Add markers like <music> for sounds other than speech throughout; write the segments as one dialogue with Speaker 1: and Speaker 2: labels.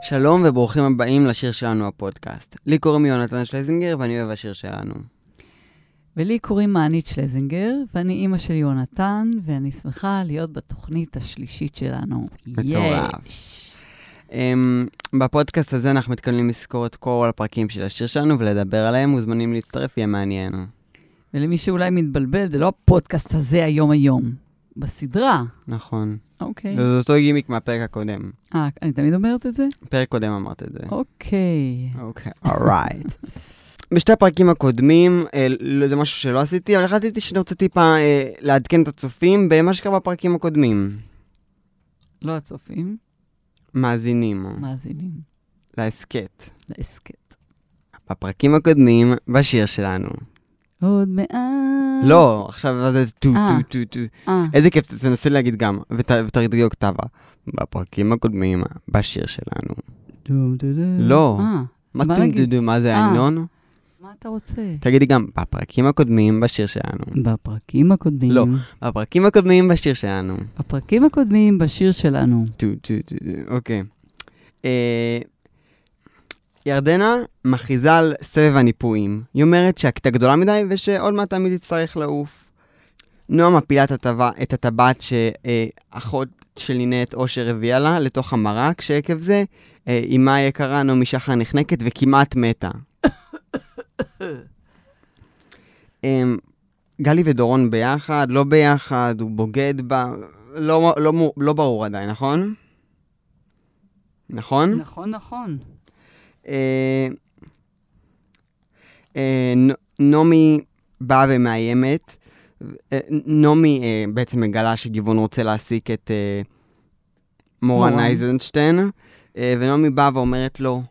Speaker 1: שלום וברוכים הבאים לשיר שלנו הפודקאסט. לי קוראים יונתן שלזינגר ואני אוהב השיר שלנו.
Speaker 2: ולי קוראים מענית שלזינגר, ואני אימא של יונתן, ואני שמחה להיות בתוכנית השלישית שלנו.
Speaker 1: מטורף.
Speaker 2: יש.
Speaker 1: Um, בפודקאסט הזה אנחנו מתכוונים לזכור את כל הפרקים של השיר שלנו ולדבר עליהם, מוזמנים להצטרף, יהיה מעניין.
Speaker 2: ולמי שאולי מתבלבל, זה לא הפודקאסט הזה היום-היום. בסדרה,
Speaker 1: נכון.
Speaker 2: אוקיי.
Speaker 1: זה אותו גימיק מהפרק הקודם.
Speaker 2: אה, אני תמיד אומרת את זה?
Speaker 1: פרק קודם אמרת את זה.
Speaker 2: אוקיי.
Speaker 1: אוקיי, אורייט. <laughs> בשתי הפרקים הקודמים, אה, לא- זה משהו שלא עשיתי, אבל החלטתי שאני רוצה טיפה אה, לעדכן את הצופים במה שקרה בפרקים הקודמים.
Speaker 2: לא הצופים,
Speaker 1: מאזינים
Speaker 2: מאזינים
Speaker 1: להסכת.
Speaker 2: להסכת.
Speaker 1: בפרקים הקודמים, בשיר שלנו.
Speaker 2: אה. עוד מעט.
Speaker 1: לא, עכשיו זה טו
Speaker 2: אה.
Speaker 1: טו טו טו.
Speaker 2: אה,
Speaker 1: איזה כיף, תנסה להגיד גם, ות- ותרגיעו כתבה. בפרקים הקודמים, בשיר שלנו.
Speaker 2: דום דום דום.
Speaker 1: לא.
Speaker 2: אה,
Speaker 1: מה
Speaker 2: מה
Speaker 1: טו
Speaker 2: להגיד?
Speaker 1: טו טו, מה זה
Speaker 2: אה.
Speaker 1: ההמנון?
Speaker 2: מה אתה רוצה?
Speaker 1: תגידי גם, בפרקים הקודמים, בשיר שלנו.
Speaker 2: בפרקים הקודמים.
Speaker 1: לא.
Speaker 2: אה.
Speaker 1: בפרקים הקודמים, בשיר שלנו.
Speaker 2: בפרקים הקודמים, בשיר שלנו.
Speaker 1: טו טו טו טו, אוקיי. אה, ירדנה מכריזה על סבב הניפויים. היא אומרת שהכיתה גדולה מדי ושעוד מעט תמיד תצטרך לעוף. נועה מפילה את הטבע- את הטבעת שאחות של נינת אושר הביאה לה לתוך המרק, שעקב זה אה, אמה היקרה נעמי שחר נחנקת וכמעט מתה. <coughs> אמ, גלי ודורון ביחד, לא ביחד, הוא בוגד בה, לא, לא, מו- לא ברור עדיין, נכון? נכון?
Speaker 2: נכון, נכון.
Speaker 1: אה, אה, נו- נעמי באה ומאיימת. אה, נעמי אה, בעצם מגלה שגיוון רוצה להעסיק את אה, מורן
Speaker 2: מורן.
Speaker 1: אייזנשטיין, אה, ונעמי באה ואומרת לו,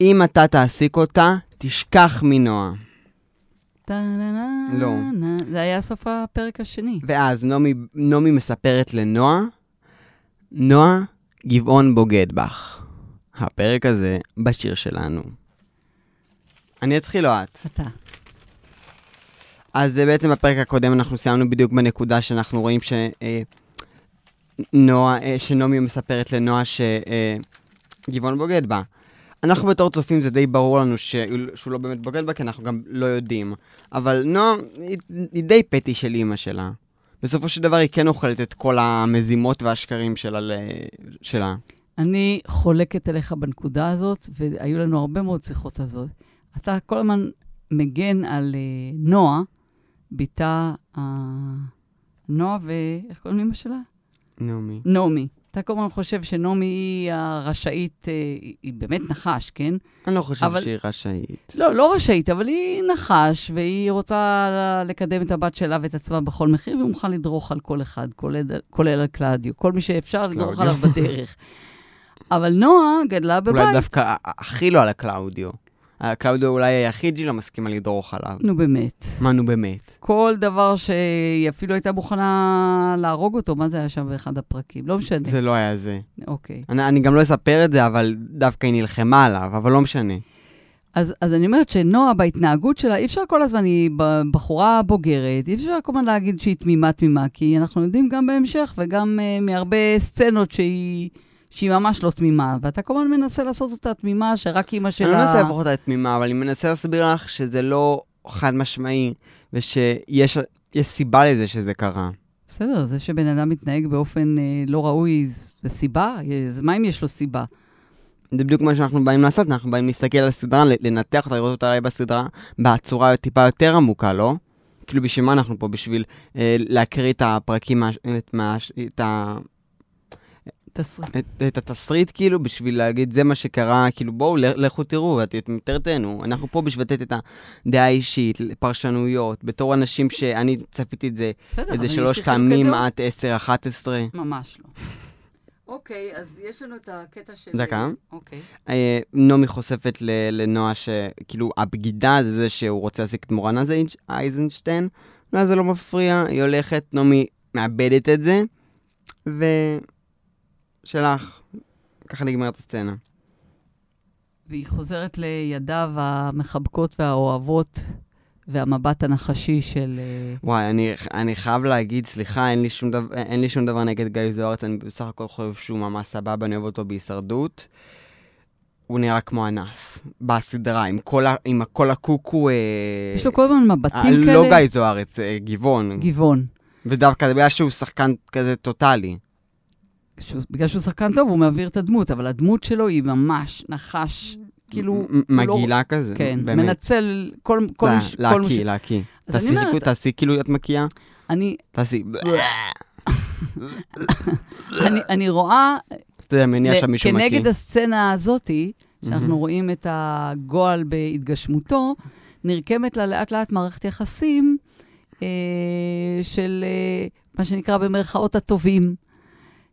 Speaker 1: אם אתה תעסיק אותה, תשכח מנועה.
Speaker 2: טה-נה-נה,
Speaker 1: לא.
Speaker 2: נה. זה היה סוף הפרק השני.
Speaker 1: ואז נעמי, נעמי מספרת לנועה, נועה, גבעון בוגד בך. הפרק הזה בשיר שלנו. אני אתחיל או את?
Speaker 2: אתה.
Speaker 1: אז אה, בעצם בפרק הקודם אנחנו סיימנו בדיוק בנקודה שאנחנו רואים ש... אה, נועה, אה, שנעמי מספרת לנועה שגבעון בוגד בה. אנחנו בתור צופים זה די ברור לנו ש... שהוא לא באמת בוגד בה, כי אנחנו גם לא יודעים. אבל נועה היא, היא די פטי של אימא שלה. בסופו של דבר היא כן אוכלת את כל המזימות והשקרים שלה. ל... שלה.
Speaker 2: אני חולקת עליך בנקודה הזאת, והיו לנו הרבה מאוד שיחות על זאת. אתה כל הזמן מגן על אה, נועה, בתה... אה, נועה ו... איך קוראים לאמא שלה?
Speaker 1: נעמי.
Speaker 2: נעמי. אתה כל הזמן חושב שנעמי היא הרשאית, אה, היא- היא באמת נחש, כן?
Speaker 1: אני לא חושב
Speaker 2: אבל-
Speaker 1: שהיא רשאית.
Speaker 2: לא, לא רשאית, אבל היא נחש, והיא רוצה לקדם את הבת שלה ואת עצמה בכל מחיר, והיא מוכנה לדרוך על כל אחד, כולל, כולל על קלאודיו, כל מי שאפשר לדרוך
Speaker 1: קלאודיו.
Speaker 2: עליו בדרך. אבל נועה גדלה בבית.
Speaker 1: אולי דווקא ה- הכי לא על הקלאודיו. הקלאודיו אולי היחיד שהיא לא מסכימה לדרוך עליו.
Speaker 2: נו באמת.
Speaker 1: מה נו באמת?
Speaker 2: כל דבר שהיא אפילו הייתה מוכנה להרוג אותו, מה זה היה שם באחד הפרקים? לא משנה.
Speaker 1: זה לא היה זה.
Speaker 2: אוקיי.
Speaker 1: אני, אני גם לא אספר את זה, אבל דווקא היא נלחמה עליו, אבל לא משנה.
Speaker 2: אז, אז אני אומרת שנועה, בהתנהגות שלה, אי אפשר כל הזמן, היא ב- בחורה בוגרת, אי אפשר כל הזמן להגיד שהיא תמימה תמימה, כי אנחנו יודעים גם בהמשך וגם uh, מהרבה סצנות שהיא, שהיא ממש לא תמימה, ואתה כל הזמן מנסה לעשות אותה תמימה, שרק אימא
Speaker 1: אני לא
Speaker 2: שלה...
Speaker 1: מנסה להפוך אותה לתמימה, אבל אני מנסה להסביר לך שזה לא חד משמעי, ושיש יש סיבה לזה שזה קרה.
Speaker 2: בסדר, זה שבן אדם מתנהג באופן uh, לא ראוי, ז- זה סיבה? אז מה אם יש לו סיבה?
Speaker 1: זה בדיוק מה שאנחנו באים לעשות, אנחנו באים להסתכל על הסדרה, ל- לנתח אותה, לראות אותה אולי בסדרה, בצורה טיפה יותר עמוקה, לא? כאילו, בשביל מה אנחנו פה? בשביל אה, להקריא את הפרקים, מה, את, מה, את, ה,
Speaker 2: תסריט.
Speaker 1: את, את התסריט, כאילו, בשביל להגיד, זה מה שקרה, כאילו, בואו, ל- לכו תראו, את- את- תרתנו. אנחנו פה בשביל לתת את הדעה האישית, פרשנויות, בתור אנשים שאני צפיתי את זה
Speaker 2: בסדר, לא, אבל
Speaker 1: איזה
Speaker 2: יש
Speaker 1: שלוש
Speaker 2: לי חילוקי
Speaker 1: פעמים
Speaker 2: דעות.
Speaker 1: עד 10-11.
Speaker 2: ממש לא. אוקיי, אז יש לנו את הקטע של...
Speaker 1: דקה.
Speaker 2: אוקיי.
Speaker 1: אה, נעמי חושפת ל- לנועה שכאילו הבגידה זה זה שהוא רוצה להעסיק את מורן אייזנש- אייזנשטיין, לה זה לא מפריע, היא הולכת, נעמי מאבדת את זה, ו... שלך. ככה נגמרת הסצנה.
Speaker 2: והיא חוזרת לידיו המחבקות והאוהבות והמבט הנחשי של... אה,
Speaker 1: וואי, אני, אני חייב להגיד, סליחה, אין לי, שום דבר, אין לי שום דבר נגד גיא זוארץ, אני בסך הכל חושב שהוא ממש סבבה, אני אוהב אותו בהישרדות. הוא נראה כמו אנס בסדרה, עם כל, ה- עם כל הקוקו... אה,
Speaker 2: יש לו כל הזמן מבטים
Speaker 1: אה,
Speaker 2: כאלה.
Speaker 1: לא גיא זוארץ, אה, גבעון.
Speaker 2: גבעון.
Speaker 1: ודווקא בגלל שהוא שחקן כזה טוטאלי.
Speaker 2: שהוא- בגלל שהוא שחקן טוב, הוא מעביר את הדמות, אבל הדמות שלו היא ממש נחש, כאילו...
Speaker 1: מ-
Speaker 2: הוא לא-
Speaker 1: מגעילה כזה,
Speaker 2: כן,
Speaker 1: באמת.
Speaker 2: מנצל כל כל
Speaker 1: לה-
Speaker 2: מי ש... כל מי ש-
Speaker 1: להקיא, להקיא.
Speaker 2: אז אני
Speaker 1: תעשי ריקוד,
Speaker 2: אומרת,
Speaker 1: תעשי כאילו את מקיאה.
Speaker 2: אני-
Speaker 1: תעשי...
Speaker 2: אני- אני רואה
Speaker 1: אתה יודע, מניע
Speaker 2: ל-
Speaker 1: שם מישהו מקיא.
Speaker 2: כנגד הסצנה הזאתי,
Speaker 1: מהמם.
Speaker 2: שאנחנו רואים את הגועל בהתגשמותו, נרקמת לה לאט לאט מערכת יחסים אה, של אה, מה שנקרא במרכאות הטובים,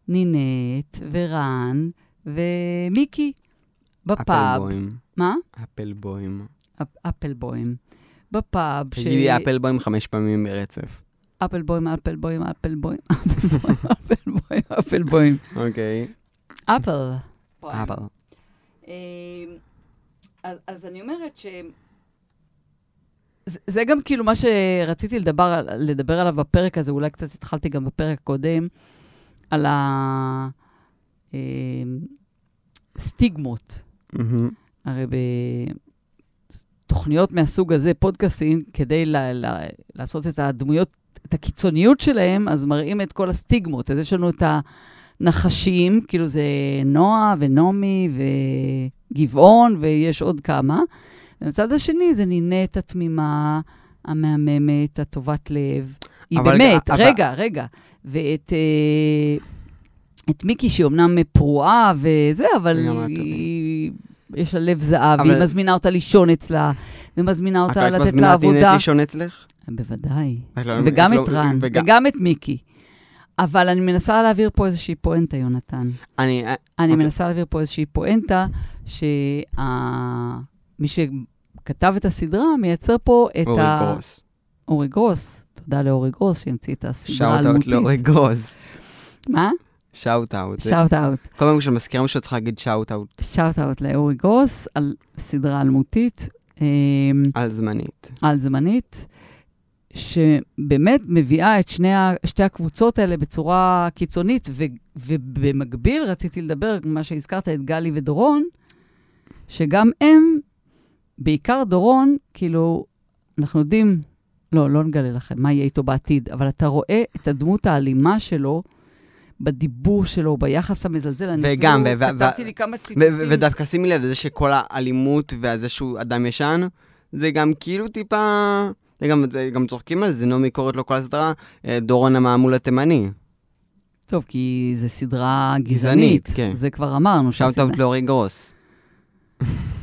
Speaker 2: נינט ורן ומיקי בפאב.
Speaker 1: אפלבוים.
Speaker 2: מה?
Speaker 1: אפלבוים.
Speaker 2: אפ- אפלבוים. בפאב.
Speaker 1: תגידי אפלבוים חמש פעמים <laughs> ברצף.
Speaker 2: אפלבוים, אפלבוים, אפלבוים, אפלבוים, אפלבוים, אפלבוים.
Speaker 1: אוקיי.
Speaker 2: אפל.
Speaker 1: אבל.
Speaker 2: אמ, אז, אז אני אומרת ש... זה, זה גם כאילו מה שרציתי לדבר, על- לדבר עליו בפרק הזה, אולי קצת התחלתי גם בפרק הקודם, על אה, הסטיגמות.
Speaker 1: מהמם.
Speaker 2: הרי בתוכניות מהסוג הזה, פודקאסטים, כדי ל- ל- לעשות את הדמויות, את הקיצוניות שלהם, אז מראים את כל הסטיגמות. אז יש לנו את הנחשים, כאילו זה נועה ונעמי וגבעון, ויש עוד כמה. ומצד השני זה נינט התמימה, המהממת, הטובת לב. היא
Speaker 1: אבל-
Speaker 2: באמת,
Speaker 1: אבל-
Speaker 2: רגע, רגע. ואת אה, את מיקי, שהיא אומנם פרועה וזה, אבל
Speaker 1: היא גם
Speaker 2: היא... יש לה לב זהב,
Speaker 1: אבל-
Speaker 2: והיא מזמינה אותה לישון אצלה, ומזמינה
Speaker 1: את
Speaker 2: אותה
Speaker 1: רק
Speaker 2: לתת לה
Speaker 1: מזמינה את
Speaker 2: עבודה.
Speaker 1: הנה לישון אצלך?
Speaker 2: בוודאי.
Speaker 1: את לא-
Speaker 2: וגם
Speaker 1: לא-
Speaker 2: את רן,
Speaker 1: וגם-
Speaker 2: וגם את מיקי. אבל אני מנסה להעביר פה איזושהי פואנטה, יונתן.
Speaker 1: אני...
Speaker 2: אני
Speaker 1: אוקיי.
Speaker 2: מנסה להעביר פה איזושהי פואנטה, שמי שכתב את הסדרה מייצר פה את
Speaker 1: אורי
Speaker 2: ה...
Speaker 1: גרוס.
Speaker 2: אורי גרוס. תודה לאורי גרוס שהמציא את הסדרה
Speaker 1: שאוט
Speaker 2: האלמותית.
Speaker 1: אאוט לאורי אוקיי. גרוס.
Speaker 2: מה?
Speaker 1: שאוט אאוט.
Speaker 2: שאוט אאוט.
Speaker 1: כל פעם כשמזכירים שאתה צריך להגיד שאוט אאוט
Speaker 2: שאוט אאוט לאורי גרוס על סדרה אלמותית, אמ,
Speaker 1: על זמנית.
Speaker 2: על זמנית, שבאמת מביאה את שני, ה- שתי הקבוצות האלה בצורה קיצונית, ו, ובמקביל רציתי לדבר, מה שהזכרת, את גלי ודורון, שגם הם, בעיקר דורון, כאילו, אנחנו יודעים, לא, לא נגלה לכם מה יהיה איתו בעתיד, אבל אתה רואה את הדמות האלימה שלו. בדיבור שלו, ביחס המזלזל, אני
Speaker 1: וגם,
Speaker 2: אפילו
Speaker 1: ו- ו-
Speaker 2: כתבתי לי כמה
Speaker 1: ו-
Speaker 2: ציטוטים.
Speaker 1: ו- ודווקא שימי לב לזה שכל האלימות והזה שהוא אדם ישן, זה גם כאילו טיפה... זה גם, זה גם צוחקים על זה, נעמי קוראת לו כל הסדרה, אה, דורון המעמול התימני.
Speaker 2: טוב, כי זו סדרה
Speaker 1: גזענית,
Speaker 2: גזענית,
Speaker 1: כן.
Speaker 2: זה כבר אמרנו.
Speaker 1: שאוט
Speaker 2: שהסדרה-
Speaker 1: אאוט לאורי גרוס.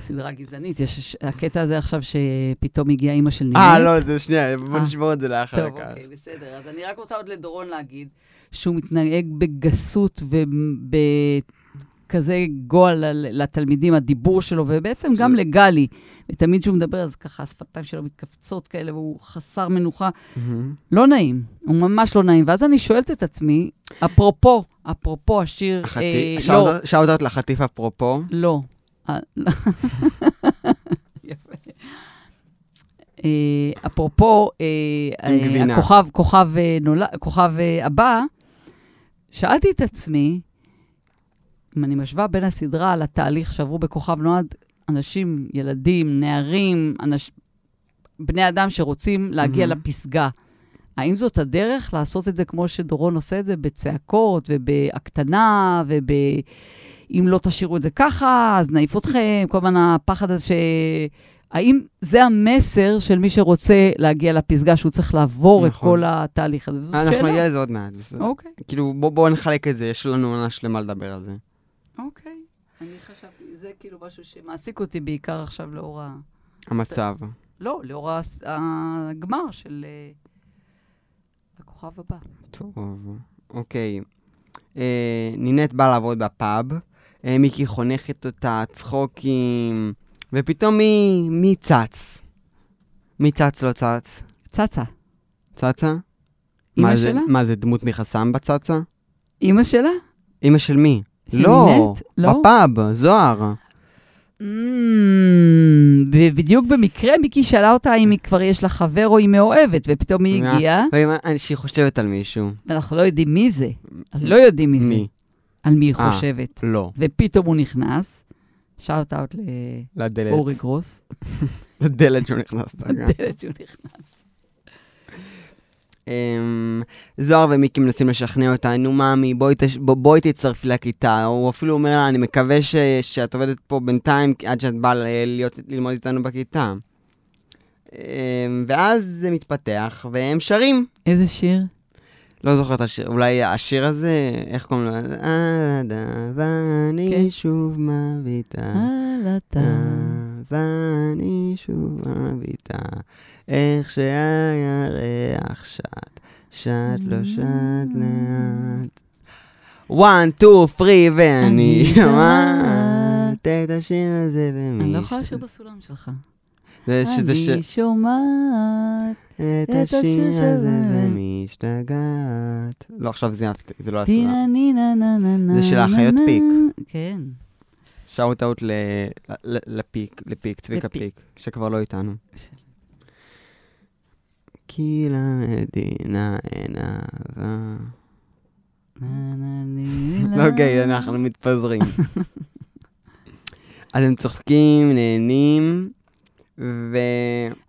Speaker 2: סדרה גזענית, יש יש- הקטע הזה עכשיו שפתאום הגיעה אימא של נינת.
Speaker 1: אה, לא, זה שנייה, בוא
Speaker 2: אה.
Speaker 1: נשמור את זה לאחר
Speaker 2: טוב,
Speaker 1: כך.
Speaker 2: אוקיי, בסדר. אז אני רק רוצה עוד לדורון להגיד שהוא מתנהג בגסות ובכזה גועל ל- לתלמידים, הדיבור שלו, ובעצם
Speaker 1: זה-
Speaker 2: גם לגלי. ותמיד כשהוא מדבר, אז ככה השפתיים שלו מתכווצות כאלה, והוא חסר מנוחה.
Speaker 1: מהמם.
Speaker 2: לא נעים, הוא ממש לא נעים. ואז אני שואלת את עצמי, אפרופו, אפרופו השיר,
Speaker 1: החטי-
Speaker 2: אה, לא,
Speaker 1: שאוט- שאוט אאוט לחטיף אפרופו.
Speaker 2: לא. אה, לא. יפה. אה, אפרופו, אה,
Speaker 1: עם
Speaker 2: אה,
Speaker 1: גבינה.
Speaker 2: הכוכב, כוכב, אה, נולד, כוכב אה, הבא, שאלתי את עצמי, אם אני משווה בין הסדרה לתהליך שעברו בכוכב נועד, אנשים, ילדים, נערים, אנש... בני אדם שרוצים להגיע
Speaker 1: מהמם.
Speaker 2: לפסגה. האם זאת הדרך לעשות את זה כמו שדורון עושה את זה, בצעקות ובהקטנה וב... אם לא תשאירו את זה ככה, אז נעיף אתכם, כל הזמן הפחד הזה ש... האם זה המסר של מי שרוצה להגיע לפסגה, שהוא צריך לעבור את
Speaker 1: נכון.
Speaker 2: כל התהליך הזה? זאת
Speaker 1: אנחנו
Speaker 2: שאלה.
Speaker 1: נגיע לזה עוד מעט, בסדר.
Speaker 2: אוקיי,
Speaker 1: כאילו, בוא- בואו נחלק את זה, יש לנו עונה שלמה לדבר על זה.
Speaker 2: אוקיי. אני חשבתי, זה כאילו משהו שמעסיק אותי בעיקר עכשיו לאור ה...
Speaker 1: המצב.
Speaker 2: לא, לאור הס- הגמר של אה, הכוכב הבא.
Speaker 1: טוב, אוקיי. אה, נינט באה לעבוד בפאב, אה, מיקי חונכת אותה, צחוקים, ופתאום מי, מי צץ? מי צץ לא צץ?
Speaker 2: צצה.
Speaker 1: צצה?
Speaker 2: אימא
Speaker 1: מה זה-
Speaker 2: שלה?
Speaker 1: מה זה, דמות מחסם בצצה?
Speaker 2: אימא שלה?
Speaker 1: אימא של מי?
Speaker 2: של
Speaker 1: לא,
Speaker 2: נינט? לא?
Speaker 1: בפאב, זוהר.
Speaker 2: אמ, ב- בדיוק במקרה מיקי שאלה אותה אם היא כבר יש לה חבר או היא מאוהבת, ופתאום היא
Speaker 1: מה?
Speaker 2: הגיעה,
Speaker 1: ואם- אה, שהיא חושבת על מישהו.
Speaker 2: ואנחנו לא יודעים מי זה. לא יודעים מי זה.
Speaker 1: מי?
Speaker 2: על מי היא
Speaker 1: אה.
Speaker 2: חושבת.
Speaker 1: לא.
Speaker 2: ופתאום הוא נכנס, שאוט אאוט
Speaker 1: לדלת.
Speaker 2: לאורי גרוס,
Speaker 1: לדלת שהוא נכנס
Speaker 2: <laughs>
Speaker 1: דרכה.
Speaker 2: הדלת שהוא נכנס.
Speaker 1: אמ, זוהר ומיקי מנסים לשכנע אותה, נו מאמי, בואי, תש... בוא- בואי תצטרפי לכיתה. הוא אפילו אומר לה, אני מקווה ש... שאת עובדת פה בינתיים עד שאת באה ל... להיות... ללמוד איתנו בכיתה. אמ, ואז זה מתפתח, והם שרים.
Speaker 2: איזה שיר?
Speaker 1: לא זוכר את השיר, אולי השיר הזה, איך קוראים לו? עד ואני
Speaker 2: כן. אה,
Speaker 1: שוב מביטה.
Speaker 2: הלטה.
Speaker 1: אה, ואני שוב מביטה, איך שהירח שט, שט לא שט לאט. 1, 2, 3, ואני
Speaker 2: אני
Speaker 1: שומעת את השיר הזה במי...
Speaker 2: אני לא יכולה לשיר את הסולם שלך.
Speaker 1: זה אה, שזה שיר...
Speaker 2: אני שומעת,
Speaker 1: את השיר הזה במי השתגעת. לא, עכשיו זייפתי, זה לא הסולם.
Speaker 2: טינה נינה נה נה נה.
Speaker 1: זה של
Speaker 2: נה,
Speaker 1: האחיות
Speaker 2: נה.
Speaker 1: פיק.
Speaker 2: כן.
Speaker 1: שאוט אאוט לפיק, לפיק, צביקה
Speaker 2: לפיק.
Speaker 1: פיק, שכבר לא איתנו. כי למדינה אין אהבה.
Speaker 2: נה, נה, נה, נה.
Speaker 1: לא גיי, אנחנו
Speaker 2: <laughs>
Speaker 1: מתפזרים. אז הם צוחקים, נהנים, ו...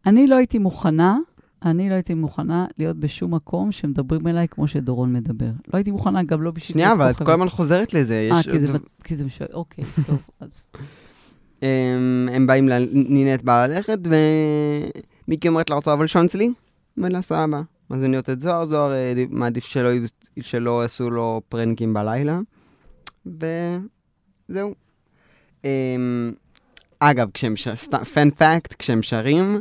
Speaker 2: אני לא הייתי מוכנה, אני לא הייתי מוכנה להיות בשום מקום שמדברים אליי כמו שדורון מדבר. לא הייתי מוכנה, גם לא בשביל...
Speaker 1: שנייה,
Speaker 2: להיות
Speaker 1: אבל את
Speaker 2: כוכבת.
Speaker 1: כל הזמן חוזרת לזה. יש
Speaker 2: אה, כי זה
Speaker 1: עוד-
Speaker 2: בת- כי זה משוער, אוקיי,
Speaker 1: <laughs>
Speaker 2: טוב, אז...
Speaker 1: הם- הם באים, ל- נינת באה ללכת, ומיקי אומרת לה, רוצה לבוא לישון אצלי? אומרת לה, סבבה. מזמינות את זוהר, זוהר אה, די- מעדיף שלא, יז- שלא עשו לו פרנקים בלילה, וזהו. הם, אגב, כשהם ש... פן פאקט, כשהם שרים,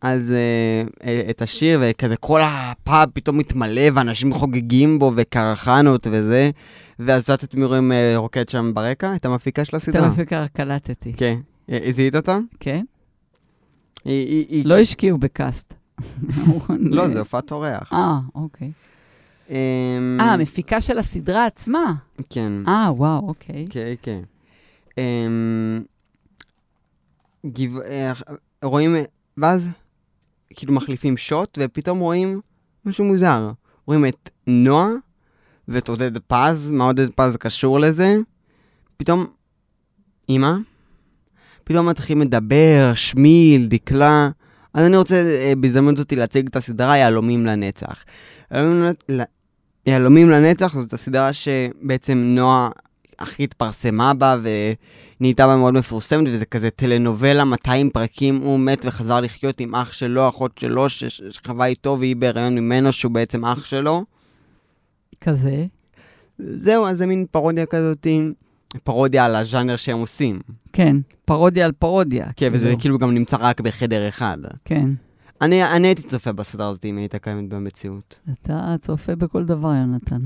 Speaker 1: אז אה, אה, את השיר, וכזה כל הפאב פתאום מתמלא, ואנשים חוגגים בו, וקרחנות וזה, ואז את יודעת את מי רואים אה, רוקד שם ברקע? את המפיקה של
Speaker 2: אתה
Speaker 1: הסדרה.
Speaker 2: מפיקה, קלטתי,
Speaker 1: כן. אה, זיהית אותה? <laughs>
Speaker 2: כן?
Speaker 1: היא- היא- היא-
Speaker 2: לא השקיעו בקאסט.
Speaker 1: <laughs> לא, זה הופעת אורח.
Speaker 2: <laughs> אה, אוקיי.
Speaker 1: אמ,
Speaker 2: אה, המפיקה של הסדרה עצמה.
Speaker 1: כן.
Speaker 2: אה, וואו, אוקיי.
Speaker 1: כן, כן. אמ, גבע- אה, רואים, ואז כאילו מחליפים שוט, ופתאום רואים משהו מוזר. רואים את נועה ואת עודד פז, מה עודד פז קשור לזה? פתאום, אמא, פתאום מתחילים לדבר, שמיל, דקלה. אז אני רוצה אה, בהזדמנות זאתי להציג את הסדרה יהלומים לנצח. יהלומים לנ- יהלומים לנצח זאת הסדרה שבעצם נועה הכי התפרסמה בה ונהייתה בה מאוד מפורסמת, וזה כזה טלנובלה 200 פרקים, הוא מת וחזר לחיות עם אח שלו, אחות שלו, ש- ש- שחווה איתו והיא בהיריון ממנו, שהוא בעצם אח שלו.
Speaker 2: כזה.
Speaker 1: זהו, אז זה מין פרודיה כזאת, פרודיה על הז'אנר שהם עושים.
Speaker 2: כן, פרודיה על פרודיה.
Speaker 1: כן, וזה
Speaker 2: כאילו,
Speaker 1: כאילו גם נמצא רק בחדר אחד.
Speaker 2: כן.
Speaker 1: אני, אני הייתי צופה בסדרה הזאת אם היא הייתה קיימת במציאות.
Speaker 2: אתה צופה בכל דבר, יונתן.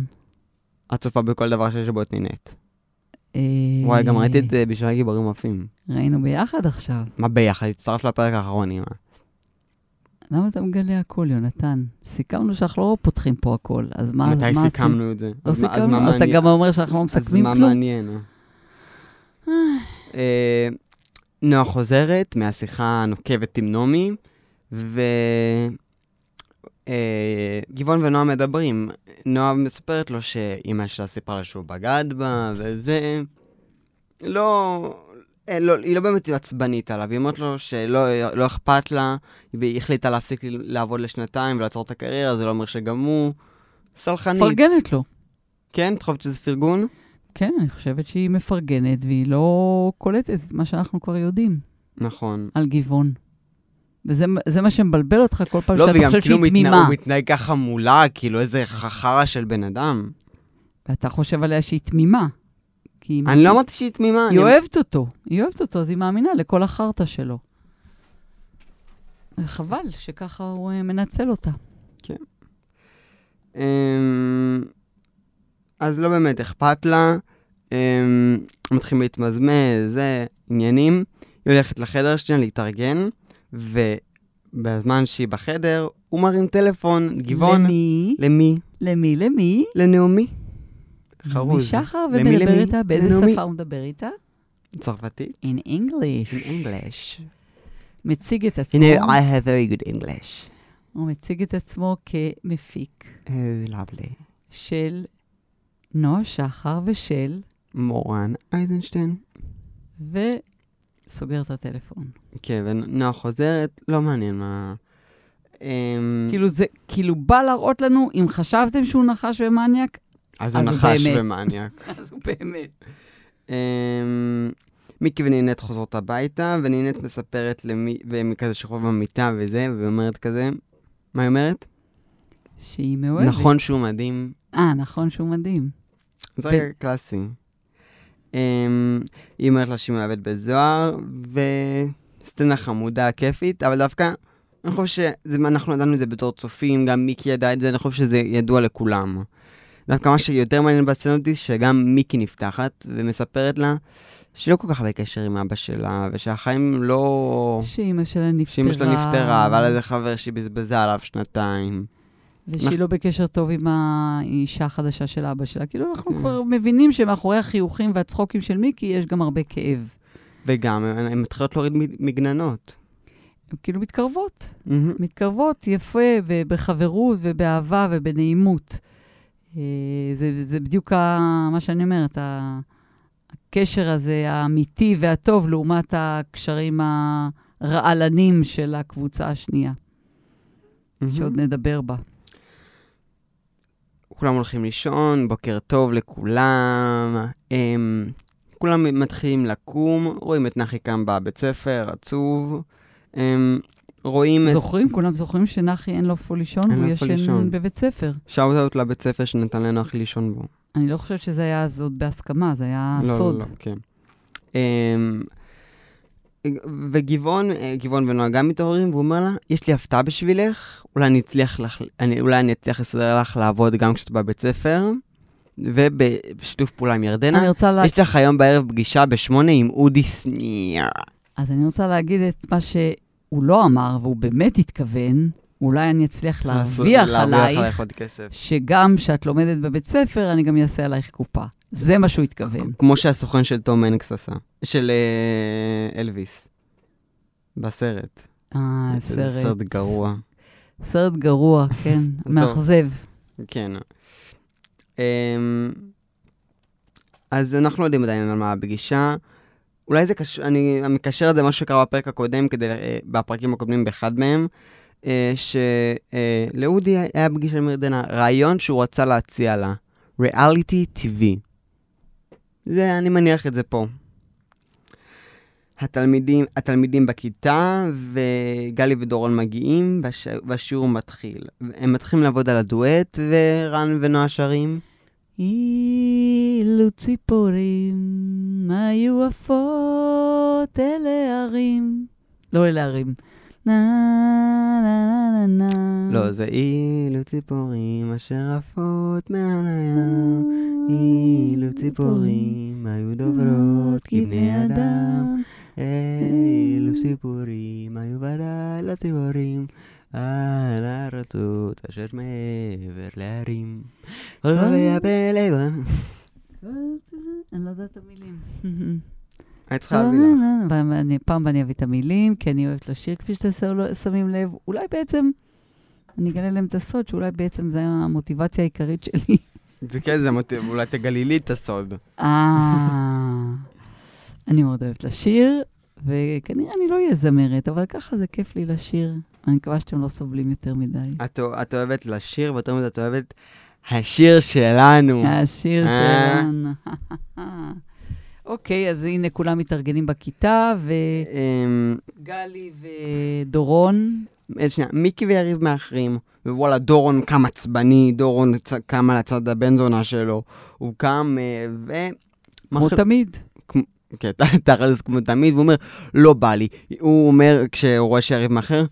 Speaker 1: את צופה בכל דבר שיש בו את נינת.
Speaker 2: אה,
Speaker 1: וואי, גם ראיתי את אה, בשביל גיבורים עפים.
Speaker 2: ראינו ביחד עכשיו.
Speaker 1: מה ביחד? הצטרף לפרק האחרון, אמא.
Speaker 2: למה אתה מגלה הכל, יונתן? סיכמנו שאנחנו לא פותחים פה הכל, אז מה...
Speaker 1: מתי
Speaker 2: מה עשית?
Speaker 1: סיכמנו את זה?
Speaker 2: לא
Speaker 1: אז מה- אז
Speaker 2: סיכמנו?
Speaker 1: מה
Speaker 2: אז אתה
Speaker 1: מעניין?
Speaker 2: גם אומר שאנחנו לא מסכמים
Speaker 1: אז מה
Speaker 2: כלום?
Speaker 1: מעניין? אה, נועה חוזרת מהשיחה הנוקבת עם נעמי, ו... אה, גבעון ונועה מדברים. נועה מספרת לו שאימא שלה סיפרה לה שהוא בגד בה, וזה... לא... אה, לא, היא לא באמת עצבנית עליו, היא אומרת לו שלא לא אכפת לה, והיא החליטה להפסיק לעבוד לשנתיים ולעצור את הקריירה, זה לא אומר שגם הוא סלחנית.
Speaker 2: מפרגנת לו.
Speaker 1: כן, את חושבת שזה פרגון?
Speaker 2: כן, אני חושבת שהיא מפרגנת, והיא לא קולטת את מה שאנחנו כבר יודעים
Speaker 1: נכון.
Speaker 2: על גבעון. וזה זה מה שמבלבל אותך כל פעם
Speaker 1: לא,
Speaker 2: שאתה
Speaker 1: וגם
Speaker 2: חושב
Speaker 1: כאילו
Speaker 2: שהיא
Speaker 1: הוא מתנה-
Speaker 2: תמימה.
Speaker 1: הוא מתנהג ככה מולה, כאילו איזה חרא של בן אדם.
Speaker 2: ואתה חושב עליה שהיא תמימה. כי היא-
Speaker 1: אני לא אמרתי שהיא תמימה.
Speaker 2: היא
Speaker 1: אני-
Speaker 2: אוהבת אותו, היא אוהבת אותו, אז היא מאמינה לכל החרטא שלו. חבל שככה הוא אה, מנצל אותה.
Speaker 1: אמ, אז לא באמת אכפת לה. אמ, מתחילים להתמזמז, זה, עניינים. היא הולכת לחדר שנייה להתארגן, ובזמן שהיא בחדר, הוא מרים טלפון, גבעון.
Speaker 2: למי?
Speaker 1: למי?
Speaker 2: למי? למי?
Speaker 1: לנעמי. חרוז.
Speaker 2: משחר
Speaker 1: למי,
Speaker 2: ומדבר
Speaker 1: למי?
Speaker 2: איתה? באיזה
Speaker 1: לנעמי.
Speaker 2: שפה הוא מדבר איתה?
Speaker 1: צרפתית?
Speaker 2: In
Speaker 1: In
Speaker 2: English. נכון.
Speaker 1: English.
Speaker 2: מציג את
Speaker 1: You
Speaker 2: עצמו,
Speaker 1: know, I have very good English.
Speaker 2: הוא מציג את עצמו כמפיק
Speaker 1: Uh, lovely.
Speaker 2: של נועה שחר ושל,
Speaker 1: מורן אייזנשטיין.
Speaker 2: ו... סוגר את הטלפון.
Speaker 1: כן, ונועה חוזרת, לא מעניין מה... אמ,
Speaker 2: כאילו זה, כאילו בא להראות לנו, אם חשבתם שהוא נחש ומניאק,
Speaker 1: אז הוא
Speaker 2: אז הוא
Speaker 1: נחש
Speaker 2: באמת.
Speaker 1: ומניאק.
Speaker 2: אז הוא באמת.
Speaker 1: אמ, מיקי ונינת חוזרות הביתה, ונינת מספרת למי, והם כזה שוכבים במיטה וזה, ואומרת כזה, מה היא אומרת?
Speaker 2: שהיא מאוהבת.
Speaker 1: נכון שהוא מדהים,
Speaker 2: אה, נכון שהוא מדהים.
Speaker 1: זה
Speaker 2: ו-
Speaker 1: רגע קלאסי. אמ, היא אומרת לה שהיא מאוהבת בזוהר, וסצנה חמודה, כיפית, אבל דווקא, אני חושב שאנחנו ידענו את זה בתור צופים, גם מיקי ידע את זה, אני חושב שזה ידוע לכולם. דווקא מה שיותר מעניין בסצנות היא שגם מיקי נפתחת ומספרת לה שהיא לא כל כך בקשר עם אבא שלה, ושהחיים לא...
Speaker 2: שאימא שלה נפטרה.
Speaker 1: שאימא שלה נפטרה, והיה לה איזה חבר שהיא בזבזה עליו שנתיים.
Speaker 2: ושהיא לא בקשר טוב עם האישה החדשה של אבא שלה. כאילו,
Speaker 1: אה.
Speaker 2: אנחנו כבר מבינים שמאחורי החיוכים והצחוקים של מיקי יש גם הרבה כאב.
Speaker 1: וגם, הן הן מתחילות להוריד מ- מגננות.
Speaker 2: הן כאילו מתקרבות.
Speaker 1: מהמם.
Speaker 2: מתקרבות יפה ובחברות ובאהבה ובנעימות. אה, זה, זה בדיוק ה, מה שאני אומרת, ה, הקשר הזה האמיתי והטוב לעומת הקשרים הרעלנים של הקבוצה השנייה,
Speaker 1: מהמם.
Speaker 2: שעוד נדבר בה.
Speaker 1: כולם הולכים לישון, בוקר טוב לכולם. הם, כולם מתחילים לקום, רואים את נחי קם בבית ספר, עצוב. הם, רואים את...
Speaker 2: זוכרים? כולם זוכרים שנחי אין לו איפה לישון,
Speaker 1: אין
Speaker 2: והוא
Speaker 1: לו איפה לישון.
Speaker 2: ישן בבית ספר.
Speaker 1: שאוט אאוט לבית ספר שנתן לנחי לישון בו.
Speaker 2: אני לא חושבת שזה היה אז עוד בהסכמה, זה היה
Speaker 1: לא,
Speaker 2: סוד.
Speaker 1: לא, לא, כן. הם, וגבעון, אה, גבעון ונועה גם מתעוררים, והוא אומר לה, יש לי הפתעה בשבילך, אולי אני אצליח, לך, אני, אולי אני אצליח לסדר לך לעבוד גם כשאת בבית ספר, ובשיתוף פעולה עם ירדנה.
Speaker 2: אני רוצה לה...
Speaker 1: יש לך היום בערב פגישה בשמונה עם אודי סניר.
Speaker 2: אז אני רוצה להגיד את מה שהוא לא אמר, והוא באמת התכוון, אולי אני אצליח להרוויח
Speaker 1: להרוויח עלייך
Speaker 2: עלייך,
Speaker 1: עוד כסף.
Speaker 2: שגם כשאת לומדת בבית ספר, אני גם אעשה עלייך קופה. זה מה שהוא התכוון.
Speaker 1: כמו שהסוכן של תום הנקס עשה, של אה, אלוויס, בסרט.
Speaker 2: אה,
Speaker 1: זה
Speaker 2: סרט.
Speaker 1: סרט גרוע.
Speaker 2: סרט גרוע,
Speaker 1: <laughs>
Speaker 2: כן, מאכזב.
Speaker 1: כן. אמ, אז אנחנו לא יודעים עדיין על מה הפגישה. אולי זה קשור, אני אני מקשר את זה למה שקרה בפרק הקודם, כדי, ל- אה, בפרקים הקודמים באחד מהם, אה, שלאודי היה פגישה עם ירדנה, רעיון שהוא רצה להציע לה, ריאליטי TV. זה, אני מניח את זה פה. התלמידים, התלמידים בכיתה, וגלי ודורון מגיעים, והש, והשיעור מתחיל. הם מתחילים לעבוד על הדואט, ורן ונועה שרים.
Speaker 2: אילו ציפורים היו עפות אלה ערים. לא אלה ערים. נה, נה, נה, נה, נה.
Speaker 1: לא, זה אילו ציפורים אשר עפות מעל הים, אילו ציפורים היו דוברות Mm, כבני אדם, Mm. אילו ציפורים היו ודאי לציפורים, על הארצות אשר מעבר להרים. רבי הפלגון.
Speaker 2: אני לא יודעת את המילים.
Speaker 1: היית צריכה להביא לך.
Speaker 2: ואני- פעם אני אביא את המילים, כי אני אוהבת לשיר, כפי שאתם ש- שמים לב. אולי בעצם, אני אגלה להם את הסוד, שאולי בעצם זו המוטיבציה העיקרית שלי.
Speaker 1: זה כן, זה מוטיב, אולי תגלי לי את הסוד.
Speaker 2: אה, אני מאוד אוהבת לשיר, וכנראה אני לא אהיה זמרת, אבל ככה זה כיף לי לשיר. אני מקווה שאתם לא סובלים יותר מדי.
Speaker 1: את אוה- את אוהבת לשיר, ואת אומרת, את אוהבת השיר שלנו.
Speaker 2: השיר
Speaker 1: אה.
Speaker 2: שלנו. <laughs> אוקיי, אז הנה כולם מתארגנים בכיתה,
Speaker 1: אמ,
Speaker 2: וגלי ודורון.
Speaker 1: אה, שנייה, מיקי ויריב מאחרים, ווואלה, דורון קם עצבני, דורון צ- קם על הצד הבן זונה שלו, הוא קם אה, ו...
Speaker 2: כמו
Speaker 1: מחל-
Speaker 2: תמיד.
Speaker 1: כן, ת- תכלס כמו תמיד, והוא אומר, לא בא לי. הוא אומר, כשהוא רואה שיריב מאחר,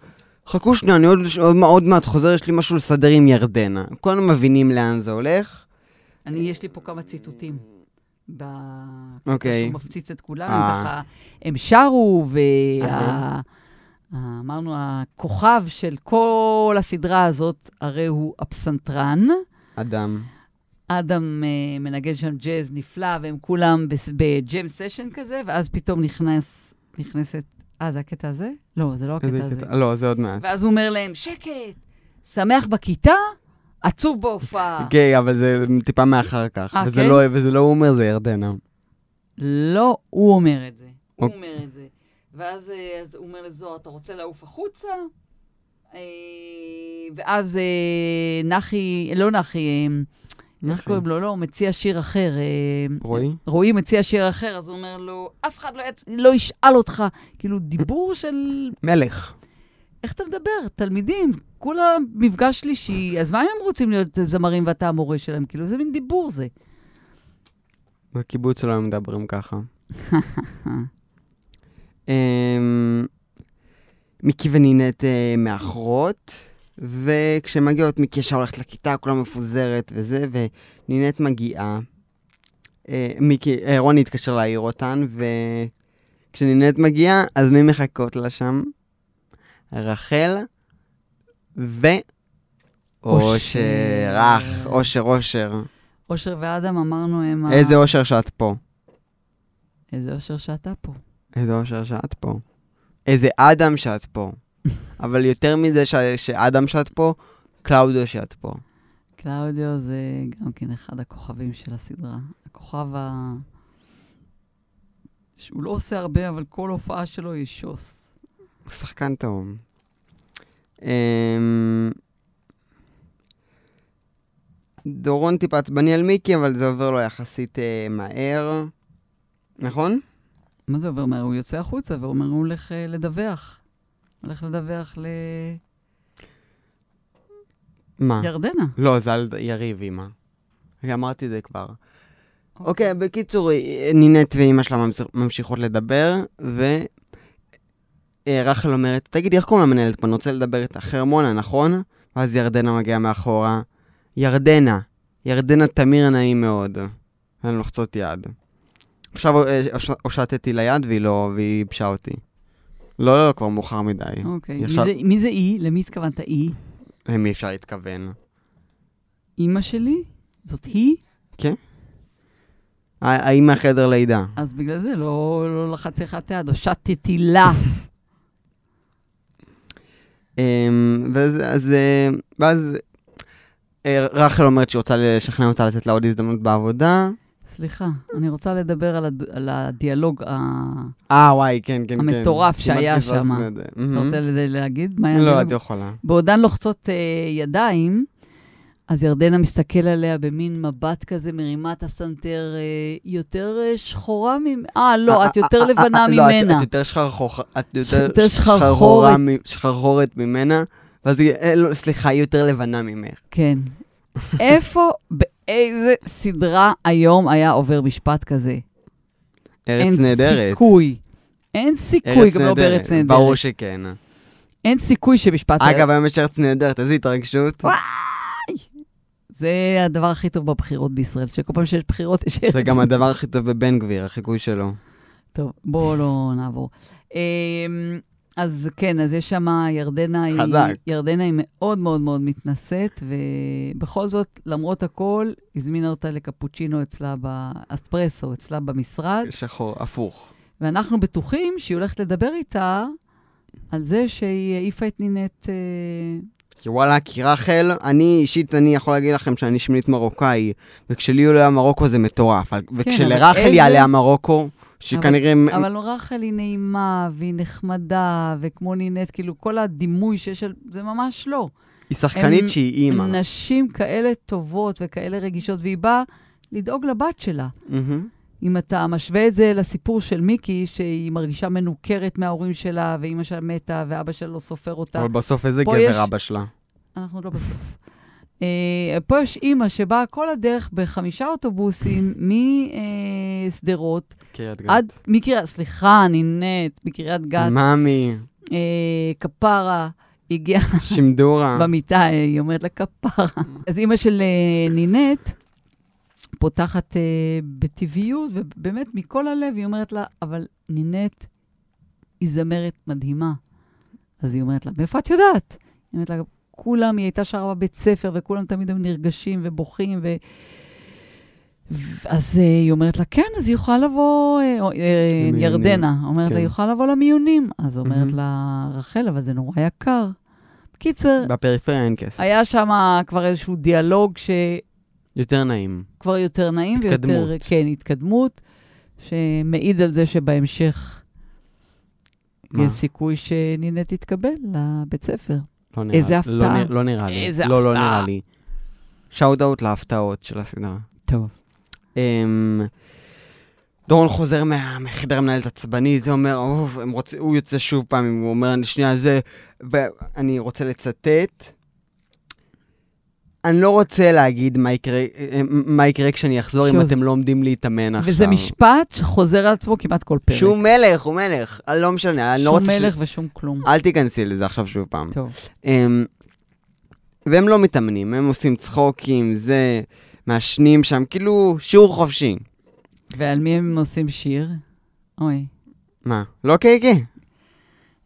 Speaker 1: חכו שנייה, אני עוד, עוד, מה- עוד מעט חוזר, יש לי משהו לסדר עם ירדנה. כולנו מבינים לאן זה הולך.
Speaker 2: אני, יש לי פה כמה ציטוטים. ב...
Speaker 1: אוקיי.
Speaker 2: שהוא מפציץ את כולם,
Speaker 1: אה. אוקיי.
Speaker 2: ככה הם שרו,
Speaker 1: אהה.
Speaker 2: וה... ה- אמרנו, הכוכב של כל הסדרה הזאת, הרי הוא הפסנתרן.
Speaker 1: אדם.
Speaker 2: אדם אה, מנגן שם ג'אז נפלא, והם כולם בס- בג'ם סשן כזה, ואז פתאום נכנס, נכנסת... אה, זה הקטע הזה? לא, זה לא הקטע הזה.
Speaker 1: לא, זה עוד מעט.
Speaker 2: ואז הוא אומר להם, שקט, שמח בכיתה, עצוב בהופעה.
Speaker 1: כן, אבל זה טיפה מאחר כך.
Speaker 2: אה,
Speaker 1: וזה
Speaker 2: כן?
Speaker 1: לא- וזה לא הוא אומר, זה ירדנה.
Speaker 2: לא הוא אומר את זה. הוא
Speaker 1: אוק-
Speaker 2: אומר את זה. ואז אה, אז הוא אומר לזוהר, אתה רוצה לעוף החוצה? אה, ואז אה, נחי, לא נחי, אה, איך קוראים לו? לא, הוא מציע שיר אחר. אה,
Speaker 1: רועי?
Speaker 2: רועי מציע שיר אחר, אז הוא אומר לו, אף אחד לא, יצ... לא ישאל אותך. כאילו, דיבור של...
Speaker 1: מלך.
Speaker 2: איך אתה מדבר? תלמידים, כולם מפגש שלישי, אז מה אם הם רוצים להיות זמרים ואתה המורה שלהם? כאילו, זה מין דיבור זה.
Speaker 1: בקיבוץ לא היו מדברים ככה. אמ, מיקי ונינט אה, מאחרות, וכשמגיעות מיקי ישר הולכת לכיתה, כולה מפוזרת וזה, ונינט מגיעה. אה, מיקי, אה, רוני התקשר להעיר אותן, וכשנינט מגיעה, אז מי מחכות לה שם? רחל ו... אושר, אח, אושר, אושר.
Speaker 2: אושר ואדם אמרנו הם... ה-
Speaker 1: איזה אושר שאת פה.
Speaker 2: איזה אושר שאתה פה.
Speaker 1: איזה אושר שאת פה. איזה אדם שאת פה. אבל יותר מזה ש... שאדם שאת פה, קלאודו שאת פה.
Speaker 2: קלאודיו זה גם כן אחד הכוכבים של הסדרה. הכוכב ה... שהוא לא עושה הרבה, אבל כל הופעה שלו היא שוס.
Speaker 1: הוא שחקן תאום. אמ... דורון טיפה עצבני על מיקי, אבל זה עובר לו יחסית אה, מהר. נכון?
Speaker 2: מה זה עובר מהר? הוא יוצא החוצה ואומר, הוא הולך אה, לדווח. הולך לדווח
Speaker 1: מה?
Speaker 2: לירדנה.
Speaker 1: לא, זה על יריב, אימא. אמרתי את זה כבר. אוקיי,
Speaker 2: אוקיי.
Speaker 1: okay, בקיצור, אה, נינט ואימא שלה ממש- ממשיכות לדבר, ורחל אומרת, תגידי, איך קוראים למנהלת פה? אני רוצה לדבר איתה. חרמונה, נכון? ואז ירדנה מגיעה מאחורה. ירדנה, ירדנה תמיר נעים מאוד. הן לוחצות יד. עכשיו אה, הוש- הושטתי לה יד והיא לא, והיא ייבשה אותי. לא, לא, לא, כבר מאוחר מדי.
Speaker 2: אוקיי. מי
Speaker 1: ישר-
Speaker 2: זה- מי זה אי? למי התכוונת אי?
Speaker 1: למי אפשר להתכוון?
Speaker 2: אימא שלי? זאת היא?
Speaker 1: הא- האם החדר לידה?
Speaker 2: אז בגלל זה לא, לא לחצתי לך את היד, הושטתי לה.
Speaker 1: אמ, ואז, אז, אה, ואז אה, רחל אומרת שהיא רוצה לשכנע אותה לתת לה עוד הזדמנות בעבודה.
Speaker 2: סליחה, אני רוצה לדבר על, הד... על הדיאלוג ה...
Speaker 1: אה, וואי, כן, כן, כן.
Speaker 2: המטורף
Speaker 1: כמעט
Speaker 2: שהיה
Speaker 1: פספסנו
Speaker 2: שמה.
Speaker 1: את זה. מהמם.
Speaker 2: אתה רוצה ל- להגיד מה היה?
Speaker 1: Mm-hmm. לא, את
Speaker 2: הדיאלוג?
Speaker 1: יכולה.
Speaker 2: בעודן לוחצות אה, ידיים, אז ירדנה מסתכל עליה במין מבט כזה, מרימה את הסנטר, אה, היא יותר אה, שחורה ממ... אה,
Speaker 1: אה,
Speaker 2: לא, את
Speaker 1: אה,
Speaker 2: יותר
Speaker 1: אה, אה,
Speaker 2: לבנה
Speaker 1: לא, את-
Speaker 2: ממנה.
Speaker 1: את יותר שחרחור-
Speaker 2: <laughs>
Speaker 1: את
Speaker 2: יותר
Speaker 1: יותר
Speaker 2: שחרחורת.
Speaker 1: שחרחורה מ- שחרחורת ממנה. ואז היא, "אה, לא, סליחה, היא יותר לבנה ממך.
Speaker 2: כן. איפה, באיזה סדרה היום היה עובר משפט כזה?
Speaker 1: ארץ
Speaker 2: אין
Speaker 1: נהדרת.
Speaker 2: סיכוי. אין סיכוי,
Speaker 1: ארץ
Speaker 2: גם לא בארץ נהדרת.
Speaker 1: ברור שכן.
Speaker 2: אין סיכוי שמשפט...
Speaker 1: אגב, היום יש ארץ נהדרת, איזו התרגשות.
Speaker 2: וואי. זה הדבר הכי טוב בבחירות בישראל, שכל פעם שיש בחירות יש ארץ.
Speaker 1: זה גם הדבר הכי טוב בבן גביר, החיקוי שלו.
Speaker 2: טוב, בואו לא נעבור. אמ, אז כן, אז יש שם ירדנה, היא-
Speaker 1: חזק.
Speaker 2: ירדנה היא מאוד מאוד מאוד מתנשאת, ובכל זאת, למרות הכל, הזמינה אותה לקפוצ'ינו אצלה באספרסו, אצלה במשרד,
Speaker 1: שחור, הפוך.
Speaker 2: ואנחנו בטוחים שהיא הולכת לדבר איתה על זה שהיא העיפה את נינת... אה,
Speaker 1: כי וואלה, כי רחל, אני אישית, אני יכול להגיד לכם שאני שמינית מרוקאי, וכשלי עולה מרוקו זה מטורף, אבל- וכשלרחל
Speaker 2: איזה-
Speaker 1: יעלה המרוקו, שכנראה... מ-
Speaker 2: כן, אבל לא רחל היא נעימה, והיא נחמדה, וכמו נינת, כאילו כל הדימוי שיש על... זה ממש לא.
Speaker 1: היא שחקנית
Speaker 2: הם-
Speaker 1: שהיא אימא.
Speaker 2: נשים כאלה טובות וכאלה רגישות, והיא באה לדאוג לבת שלה.
Speaker 1: מהמם.
Speaker 2: אם אתה משווה את זה לסיפור של מיקי, שהיא מרגישה מנוכרת מההורים שלה, ואימא שלה מתה, ואבא שלה לא סופר אותה,
Speaker 1: אבל בסוף איזה
Speaker 2: פה יש-
Speaker 1: גבר אבא שלה.
Speaker 2: אנחנו לא בסוף. אה, פה יש אימא שבאה כל הדרך בחמישה אוטובוסים משדרות
Speaker 1: קריית גת.
Speaker 2: עד, מקריית, סליחה, נינט, מקריית גת, <laughs>
Speaker 1: מאמי,
Speaker 2: אה, כפרה, הגיעה
Speaker 1: שימדורה.
Speaker 2: במיטה, אה, היא אומרת לה
Speaker 1: <laughs>
Speaker 2: כפרה. אז אימא של אה, נינט פותחת אה, בטבעיות, ובאמת מכל הלב היא אומרת לה, אבל נינט היא זמרת מדהימה. אז היא אומרת לה, מאיפה את יודעת? היא אומרת לה, כולם, היא הייתה שרה בבית ספר, וכולם תמיד היו נרגשים ובוכים, ו... ו- אז אה, היא אומרת לה, כן, אז היא יכולה לבוא, אה, או, אה,
Speaker 1: למיונים.
Speaker 2: ירדנה, אומרת
Speaker 1: כן.
Speaker 2: לה, היא יכולה לבוא למיונים. אז אומרת
Speaker 1: מהמם.
Speaker 2: לה, רחל, אבל זה נורא יקר. בקיצר,
Speaker 1: בפריפריה אין כסף.
Speaker 2: היה שם כבר איזשהו דיאלוג שכבר
Speaker 1: יותר נעים.
Speaker 2: יותר נעים ויותר...
Speaker 1: התקדמות.
Speaker 2: כן, התקדמות, שמעיד על זה שבהמשך
Speaker 1: מה?
Speaker 2: יש סיכוי שנינה תתקבל לבית ספר.
Speaker 1: לא נראה-
Speaker 2: איזה
Speaker 1: לא
Speaker 2: הפתעה.
Speaker 1: נרא- לא נראה לי.
Speaker 2: איזה
Speaker 1: לא, לא
Speaker 2: הפתעה.
Speaker 1: נראה לי. שאוט אאוט להפתעות של הסדרה.
Speaker 2: טוב.
Speaker 1: אמ, דורון חוזר מה- מחדר המנהלת עצבני, זה אומר, אוף, הם רוצ... הוא יוצא שוב פעם, הוא אומר, שנייה, זה... ואני רוצה לצטט. אני לא רוצה להגיד מה יקרה, אה, מה יקרה כשאני אחזור אם
Speaker 2: שוב.
Speaker 1: אתם לא עומדים להתאמן עכשיו.
Speaker 2: וזה משפט שחוזר על עצמו כמעט כל פרק.
Speaker 1: שהוא מלך, הוא מלך. אני לא משנה, אני לא
Speaker 2: שום
Speaker 1: רוצה...
Speaker 2: מלך ושום כלום.
Speaker 1: ש... אה. אל תיכנסי לזה עכשיו שוב פעם.
Speaker 2: טוב.
Speaker 1: הם, והם לא מתאמנים, הם עושים צחוקים, זה, מעשנים שם, כאילו שיעור חופשי.
Speaker 2: ועל מי הם עושים שיר? אוי.
Speaker 1: מה? לא קקה?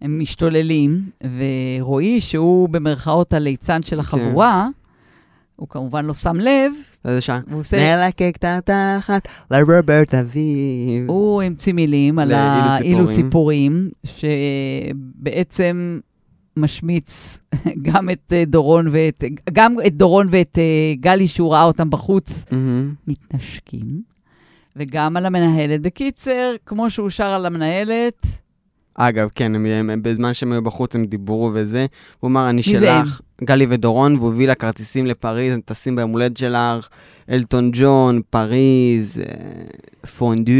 Speaker 2: הם משתוללים, ורועי, שהוא במרכאות הליצן
Speaker 1: כן.
Speaker 2: של החבורה, הוא כמובן לא שם לב,
Speaker 1: זה שעה.
Speaker 2: והוא עושה...
Speaker 1: נלקק את התחת לרוברט אביב.
Speaker 2: הוא המציא מילים על
Speaker 1: לאילוץ
Speaker 2: האילוץ
Speaker 1: ציפורים.
Speaker 2: ציפורים, שבעצם משמיץ <laughs> גם את אה, דורון ואת... גם את דורון ואת אה, גלי, שהוא ראה אותם בחוץ,
Speaker 1: מהמם.
Speaker 2: מתנשקים, וגם על המנהלת. בקיצר, כמו שהוא שר על המנהלת,
Speaker 1: אגב, כן, הם- הם- הם- בזמן שהם היו בחוץ הם דיברו וזה. הוא אמר, אני
Speaker 2: מי זה הם?
Speaker 1: שלך, גלי ודורון, והוא הביא לה כרטיסים לפריז, הם טסים ביום הולדת שלך, אלטון ג'ון, פריז, אה, פונדו.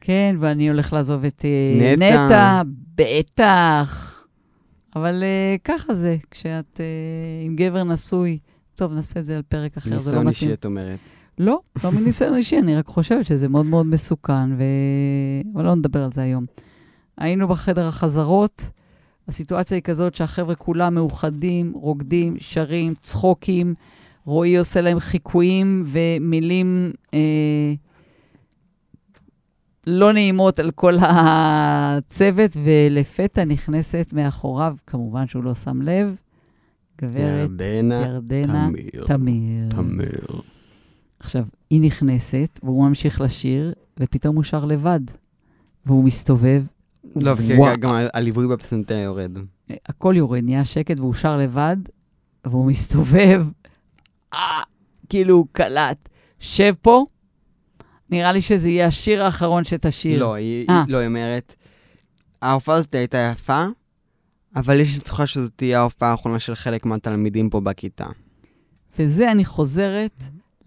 Speaker 2: כן, ואני הולך לעזוב את אה,
Speaker 1: נטע.
Speaker 2: נטע, בטח. אבל אה, ככה זה, כשאת אה, עם גבר נשוי. טוב, נעשה את זה על פרק אחר, זה לא
Speaker 1: ניסיון אישי,
Speaker 2: מתאים.
Speaker 1: את אומרת.
Speaker 2: לא, לא מניסיון <laughs> אישי, אני רק חושבת שזה מאוד מאוד מסוכן, ו... אבל לא נדבר על זה היום. היינו בחדר החזרות, הסיטואציה היא כזאת שהחבר'ה כולם מאוחדים, רוקדים, שרים, צחוקים, רועי עושה להם חיקויים ומילים אה, לא נעימות על כל הצוות, ולפתע נכנסת מאחוריו, כמובן שהוא לא שם לב, גברת
Speaker 1: ירדנה
Speaker 2: ירדנה
Speaker 1: תמיר.
Speaker 2: תמיר.
Speaker 1: תמיר.
Speaker 2: עכשיו, היא נכנסת, והוא ממשיך לשיר, ופתאום הוא שר לבד. והוא מסתובב,
Speaker 1: לא,
Speaker 2: וואו.
Speaker 1: וכן, גם ה- הליווי בפסנתר יורד.
Speaker 2: אה, הכל יורד, נהיה שקט, והוא שר לבד, והוא מסתובב, <laughs> אה, כאילו הוא קלט. שב פה, נראה לי שזה יהיה השיר האחרון שתשיר.
Speaker 1: לא, היא
Speaker 2: אה.
Speaker 1: לא, היא אומרת, ההופעה הזאת הייתה יפה, אבל יש צוחה שזאת תהיה ההופעה האחרונה של חלק מהתלמידים פה בכיתה.
Speaker 2: וזה, אני חוזרת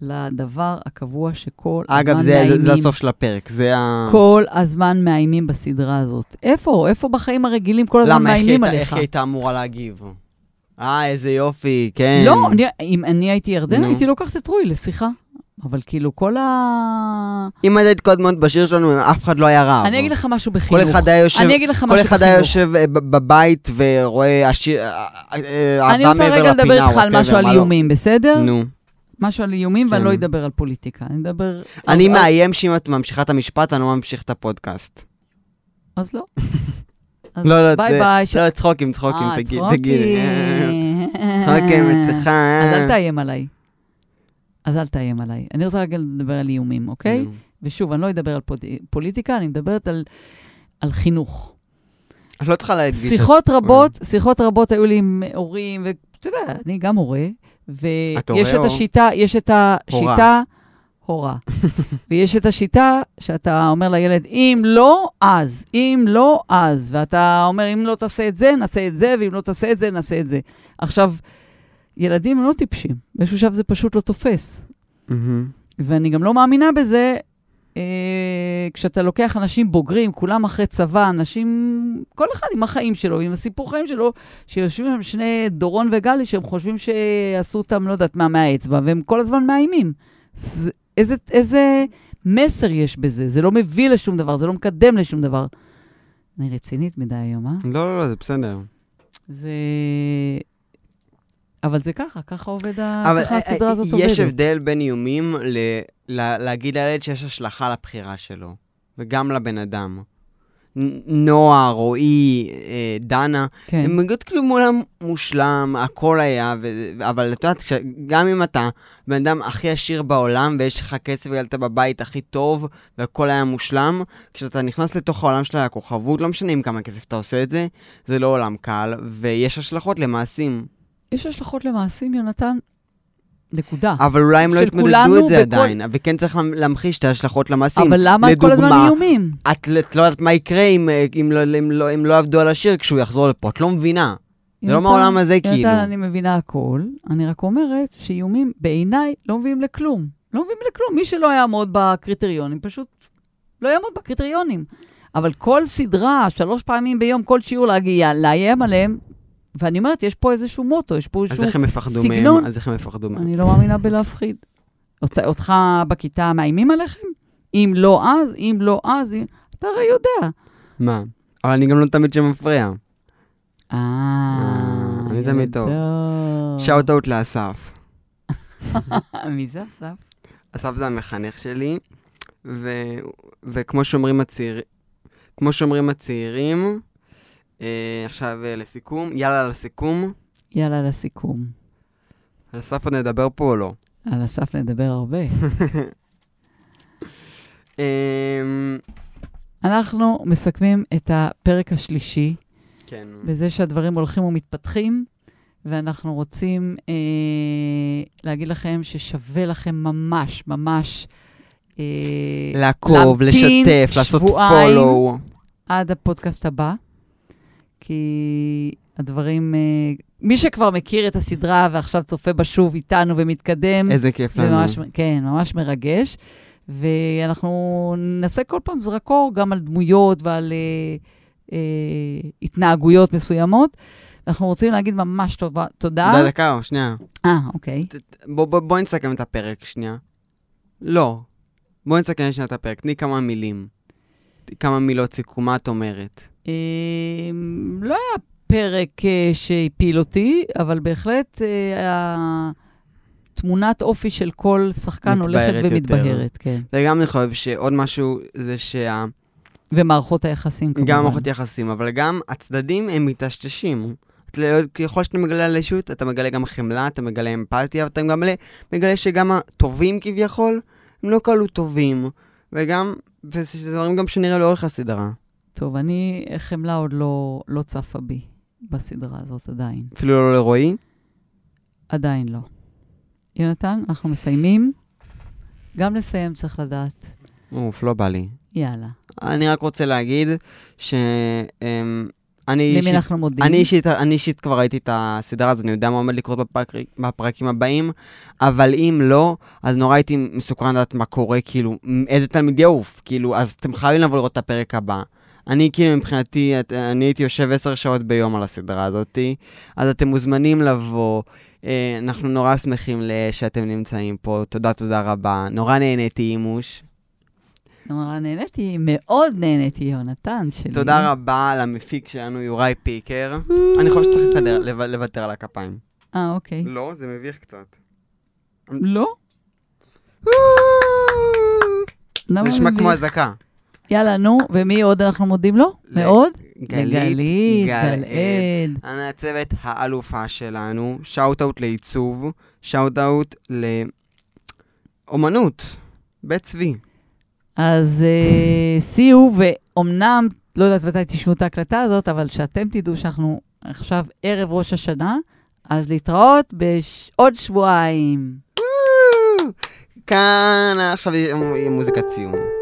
Speaker 2: לדבר הקבוע שכל
Speaker 1: אגב,
Speaker 2: הזמן
Speaker 1: זה-
Speaker 2: מאיימים.
Speaker 1: זה הסוף של הפרק, זה ה...
Speaker 2: כל הזמן מאיימים בסדרה הזאת. איפה? איפה בחיים הרגילים כל הזמן
Speaker 1: למה, איך היא
Speaker 2: מאיימים
Speaker 1: הייתה-
Speaker 2: עליך?
Speaker 1: איך היא הייתה אמורה להגיב? אה, איזה יופי, כן.
Speaker 2: לא, אני, אם אני הייתי ירדנה,
Speaker 1: נו.
Speaker 2: הייתי לוקחת את רועי לשיחה. אבל כאילו, כל ה...
Speaker 1: אם את היית קודמות בשיר שלנו, אף אחד לא היה רב.
Speaker 2: אני אגיד לך משהו בחינוך.
Speaker 1: כל אחד היה יושב...
Speaker 2: אני אגיד לך
Speaker 1: כל
Speaker 2: משהו
Speaker 1: אחד היה
Speaker 2: בחינוך.
Speaker 1: יושב אה, ב- בבית ורואה השיר, אה, אה, אהבה
Speaker 2: אני
Speaker 1: מעבר
Speaker 2: רוצה
Speaker 1: לפינה,
Speaker 2: רגע לדבר איתך על
Speaker 1: whatever,
Speaker 2: משהו על
Speaker 1: מה לא.
Speaker 2: איומים, בסדר?
Speaker 1: נו.
Speaker 2: משהו על איומים, ואני
Speaker 1: כן.
Speaker 2: לא אדבר על פוליטיקה. אני אדבר...
Speaker 1: אני
Speaker 2: על-
Speaker 1: מאיים שאם את ממשיכה את המשפט, אני לא ממשיך את הפודקאסט.
Speaker 2: אז לא. אז
Speaker 1: לא, לא,
Speaker 2: ביי
Speaker 1: זה-
Speaker 2: ביי. ש-
Speaker 1: לא, צחוקים, צחוקים,
Speaker 2: אה,
Speaker 1: תגיד,
Speaker 2: צחוקים. אה,
Speaker 1: תגיד. אה,
Speaker 2: <laughs>
Speaker 1: צחוקים, אצלך.
Speaker 2: אז אל תאיים עליי. אז אל תאיים עליי. אני רוצה רגע לדבר על איומים, אוקיי? ושוב, אני לא אדבר על פוד- פוליטיקה, אני מדברת על- על חינוך.
Speaker 1: את לא צריכה להדגיש.
Speaker 2: שיחות רבות, שיחות רבות היו לי עם הורים, ואתה יודע, אני גם הורה,
Speaker 1: את הורה
Speaker 2: ויש את
Speaker 1: או-
Speaker 2: השיטה, יש את השיטה,
Speaker 1: הורה. <laughs>
Speaker 2: הורה, ויש את השיטה שאתה אומר לילד, אם לא, אז, אם לא, אז, ואתה אומר, אם לא תעשה את זה, נעשה את זה, ואם לא תעשה את זה, נעשה את זה. עכשיו, ילדים הם לא טיפשים, באיזשהו שלב זה פשוט לא תופס,
Speaker 1: מהמם.
Speaker 2: ואני גם לא מאמינה בזה. אה, כשאתה לוקח אנשים בוגרים, כולם אחרי צבא, אנשים, כל אחד עם החיים שלו, עם הסיפור חיים שלו, שיושבים שם שני דורון וגלי, שהם חושבים שעשו אותם, לא יודעת מה, מהאצבע, והם כל הזמן מאיימים. זה, איזה, איזה מסר יש בזה? זה לא מביא לשום דבר, זה לא מקדם לשום דבר. אני רצינית מדי היום, אה?
Speaker 1: לא, לא, לא, זה בסדר.
Speaker 2: זה... אבל זה ככה, ככה עובד, ה...
Speaker 1: אבל
Speaker 2: ככה
Speaker 1: אה,
Speaker 2: הסדרה
Speaker 1: אה,
Speaker 2: הזאת עובדת.
Speaker 1: יש הבדל בין איומים ל- ל- להגיד לילד שיש השלכה לבחירה שלו, וגם לבן אדם. נ- נועה, רועי, אה, דנה,
Speaker 2: כן.
Speaker 1: הם מגיעות כאילו מולם מושלם, הכל היה, ו... אבל את יודעת, כש- גם אם אתה בן אדם הכי עשיר בעולם, ויש לך כסף ואתה בבית הכי טוב, והכל היה מושלם, כשאתה נכנס לתוך העולם של הכוכבות, לא משנה עם כמה כסף אתה עושה את זה, זה לא עולם קל, ויש השלכות למעשים.
Speaker 2: יש השלכות למעשים, יונתן, נקודה.
Speaker 1: אבל אולי הם לא
Speaker 2: אה. של
Speaker 1: התמודדו
Speaker 2: כולנו
Speaker 1: את זה
Speaker 2: בכל-
Speaker 1: עדיין, וכן צריך למ- להמחיש את ההשלכות למעשים.
Speaker 2: אבל למה את כל הזמן
Speaker 1: לדוגמה,
Speaker 2: איומים?
Speaker 1: את ל- את לא יודעת מה יקרה אם, אה, אם, לא, אם, לא, אם לא יעבדו על השיר כשהוא יחזור לפה, את לא מבינה. זה לא
Speaker 2: יונתן,
Speaker 1: מהעולם הזה, כאילו.
Speaker 2: יונתן, אני מבינה הכל, אני רק אומרת שאיומים בעיניי לא מביאים לכלום. לא מביאים לכלום. מי שלא יעמוד בקריטריונים, פשוט לא יעמוד בקריטריונים. אבל כל סדרה, שלוש פעמים ביום, כל שיעור להגיע, לאיים עליהם, ואני אומרת, יש פה איזשהו מוטו, יש פה
Speaker 1: אז
Speaker 2: איזשהו...
Speaker 1: איך הם יפחדו
Speaker 2: סגנון.
Speaker 1: מהם? אז איך הם יפחדו מהם?
Speaker 2: אני לא מאמינה בלהפחיד. אות, אותך בכיתה מאיימים עליכם? אם לא אז, אם לא אז, אם... אתה הרי יודע.
Speaker 1: מה? אבל אני גם לא תמיד שמפריע.
Speaker 2: אה,
Speaker 1: אני תמיד טוב.
Speaker 2: יודע.
Speaker 1: שאוט אאוט לאסף.
Speaker 2: אה, מי זה אסף?
Speaker 1: אסף זה המחנך שלי, ו... וכמו שאומרים הצעיר... כמו שאומרים הצעירים, אה, עכשיו אה, לסיכום, יאללה לסיכום.
Speaker 2: יאללה, לסיכום.
Speaker 1: על אסף עוד נדבר פה או לא?
Speaker 2: על אסף נדבר הרבה. <laughs>
Speaker 1: אמ,
Speaker 2: אנחנו מסכמים את הפרק השלישי
Speaker 1: כן.
Speaker 2: בזה שהדברים הולכים ומתפתחים, ואנחנו רוצים אה, להגיד לכם ששווה לכם ממש, ממש, אה,
Speaker 1: לעקוב,
Speaker 2: להמתין
Speaker 1: לשתף, לעשות
Speaker 2: שבועיים.
Speaker 1: פולו.
Speaker 2: עד הפודקאסט הבא, כי הדברים... אה, מי שכבר מכיר את הסדרה ועכשיו צופה בה שוב איתנו ומתקדם,
Speaker 1: איזה כיף
Speaker 2: זה
Speaker 1: לנו.
Speaker 2: ממש, כן, ממש מרגש. ואנחנו נעשה כל פעם זרקור גם על דמויות ועל אה, אה, התנהגויות מסוימות. אנחנו רוצים להגיד ממש טובה, תודה.
Speaker 1: תודה דקה, או שנייה.
Speaker 2: אה, אוקיי.
Speaker 1: בוא- בוא- בואי נסכם את הפרק שנייה. לא. בואי נסכם שנייה את הפרק. תני כמה מילים. תני כמה מילות סיכום, מה את אומרת?
Speaker 2: אה, לא היה פרק אה, שהפיל אותי, אבל בהחלט אה, תמונת אופי של כל שחקן הולכת
Speaker 1: מתבהרת יותר.
Speaker 2: ומתבהרת, כן.
Speaker 1: וגם אני חושב שעוד משהו זה שה...
Speaker 2: ומערכות היחסים כמובן.
Speaker 1: גם מערכות יחסים, אבל גם הצדדים הם מטשטשים. את לא- ככל שאתה מגלה על אישות, אתה מגלה גם חמלה, אתה מגלה אמפתיה, ואתה גם מגלה- מגלה שגם הטובים כביכול, הם לא כאלו טובים. וגם, וזה דברים גם שנראה לאורך הסדרה.
Speaker 2: טוב, אני, חמלה עוד לא, לא צפה בי בסדרה הזאת עדיין.
Speaker 1: אפילו לא לרועי.
Speaker 2: עדיין לא. יונתן, אנחנו מסיימים. גם לסיים צריך לדעת.
Speaker 1: אוף, לא בא לי.
Speaker 2: יאללה.
Speaker 1: אני רק רוצה להגיד ש... אמ, אני
Speaker 2: למי
Speaker 1: אישית,
Speaker 2: אנחנו מודים?
Speaker 1: אני אישית, אני אישית כבר ראיתי את הסדרה, אז אני יודע מה עומד לקרות בפרק, בפרקים הבאים, אבל אם לא, אז נורא הייתי מסוכן לדעת מה קורה, כאילו, מ- איזה תלמיד יעוף, כאילו, אז אתם חייבים לבוא לראות את הפרק הבא. אני כאילו מבחינתי, את- אני הייתי יושב עשר שעות ביום על הסדרה הזאתי, אז אתם מוזמנים לבוא. אה, אנחנו נורא שמחים ל- שאתם נמצאים פה, תודה תודה רבה. נורא נהניתי אימוש.
Speaker 2: נורא נהניתי, מאוד נהניתי, יונתן שלי.
Speaker 1: תודה רבה למפיק שלנו, יוראי פיקר. אני חושב שצריך לוותר- לו- לוותר על הכפיים.
Speaker 2: אה, אוקיי.
Speaker 1: לא, זה מביך קצת.
Speaker 2: לא? למה
Speaker 1: זה נשמע
Speaker 2: מביך?
Speaker 1: כמו אזעקה.
Speaker 2: יאללה, נו, ומי עוד אנחנו מודים לו?
Speaker 1: ל-
Speaker 2: מאוד?
Speaker 1: גלית, גלעד,
Speaker 2: גלעד.
Speaker 1: המעצבת האלופה שלנו, שאוט אאוט לעיצוב, שאוט אאוט לאומנות, בית צבי.
Speaker 2: אז אה, סיו, ואומנם, לא יודעת מתי תשמעו את ההקלטה הזאת, אבל שאתם תדעו שאנחנו עכשיו ערב ראש השנה, אז להתראות בעוד שבועיים.
Speaker 1: כאן, עכשיו יהיה מוזיקת סיום.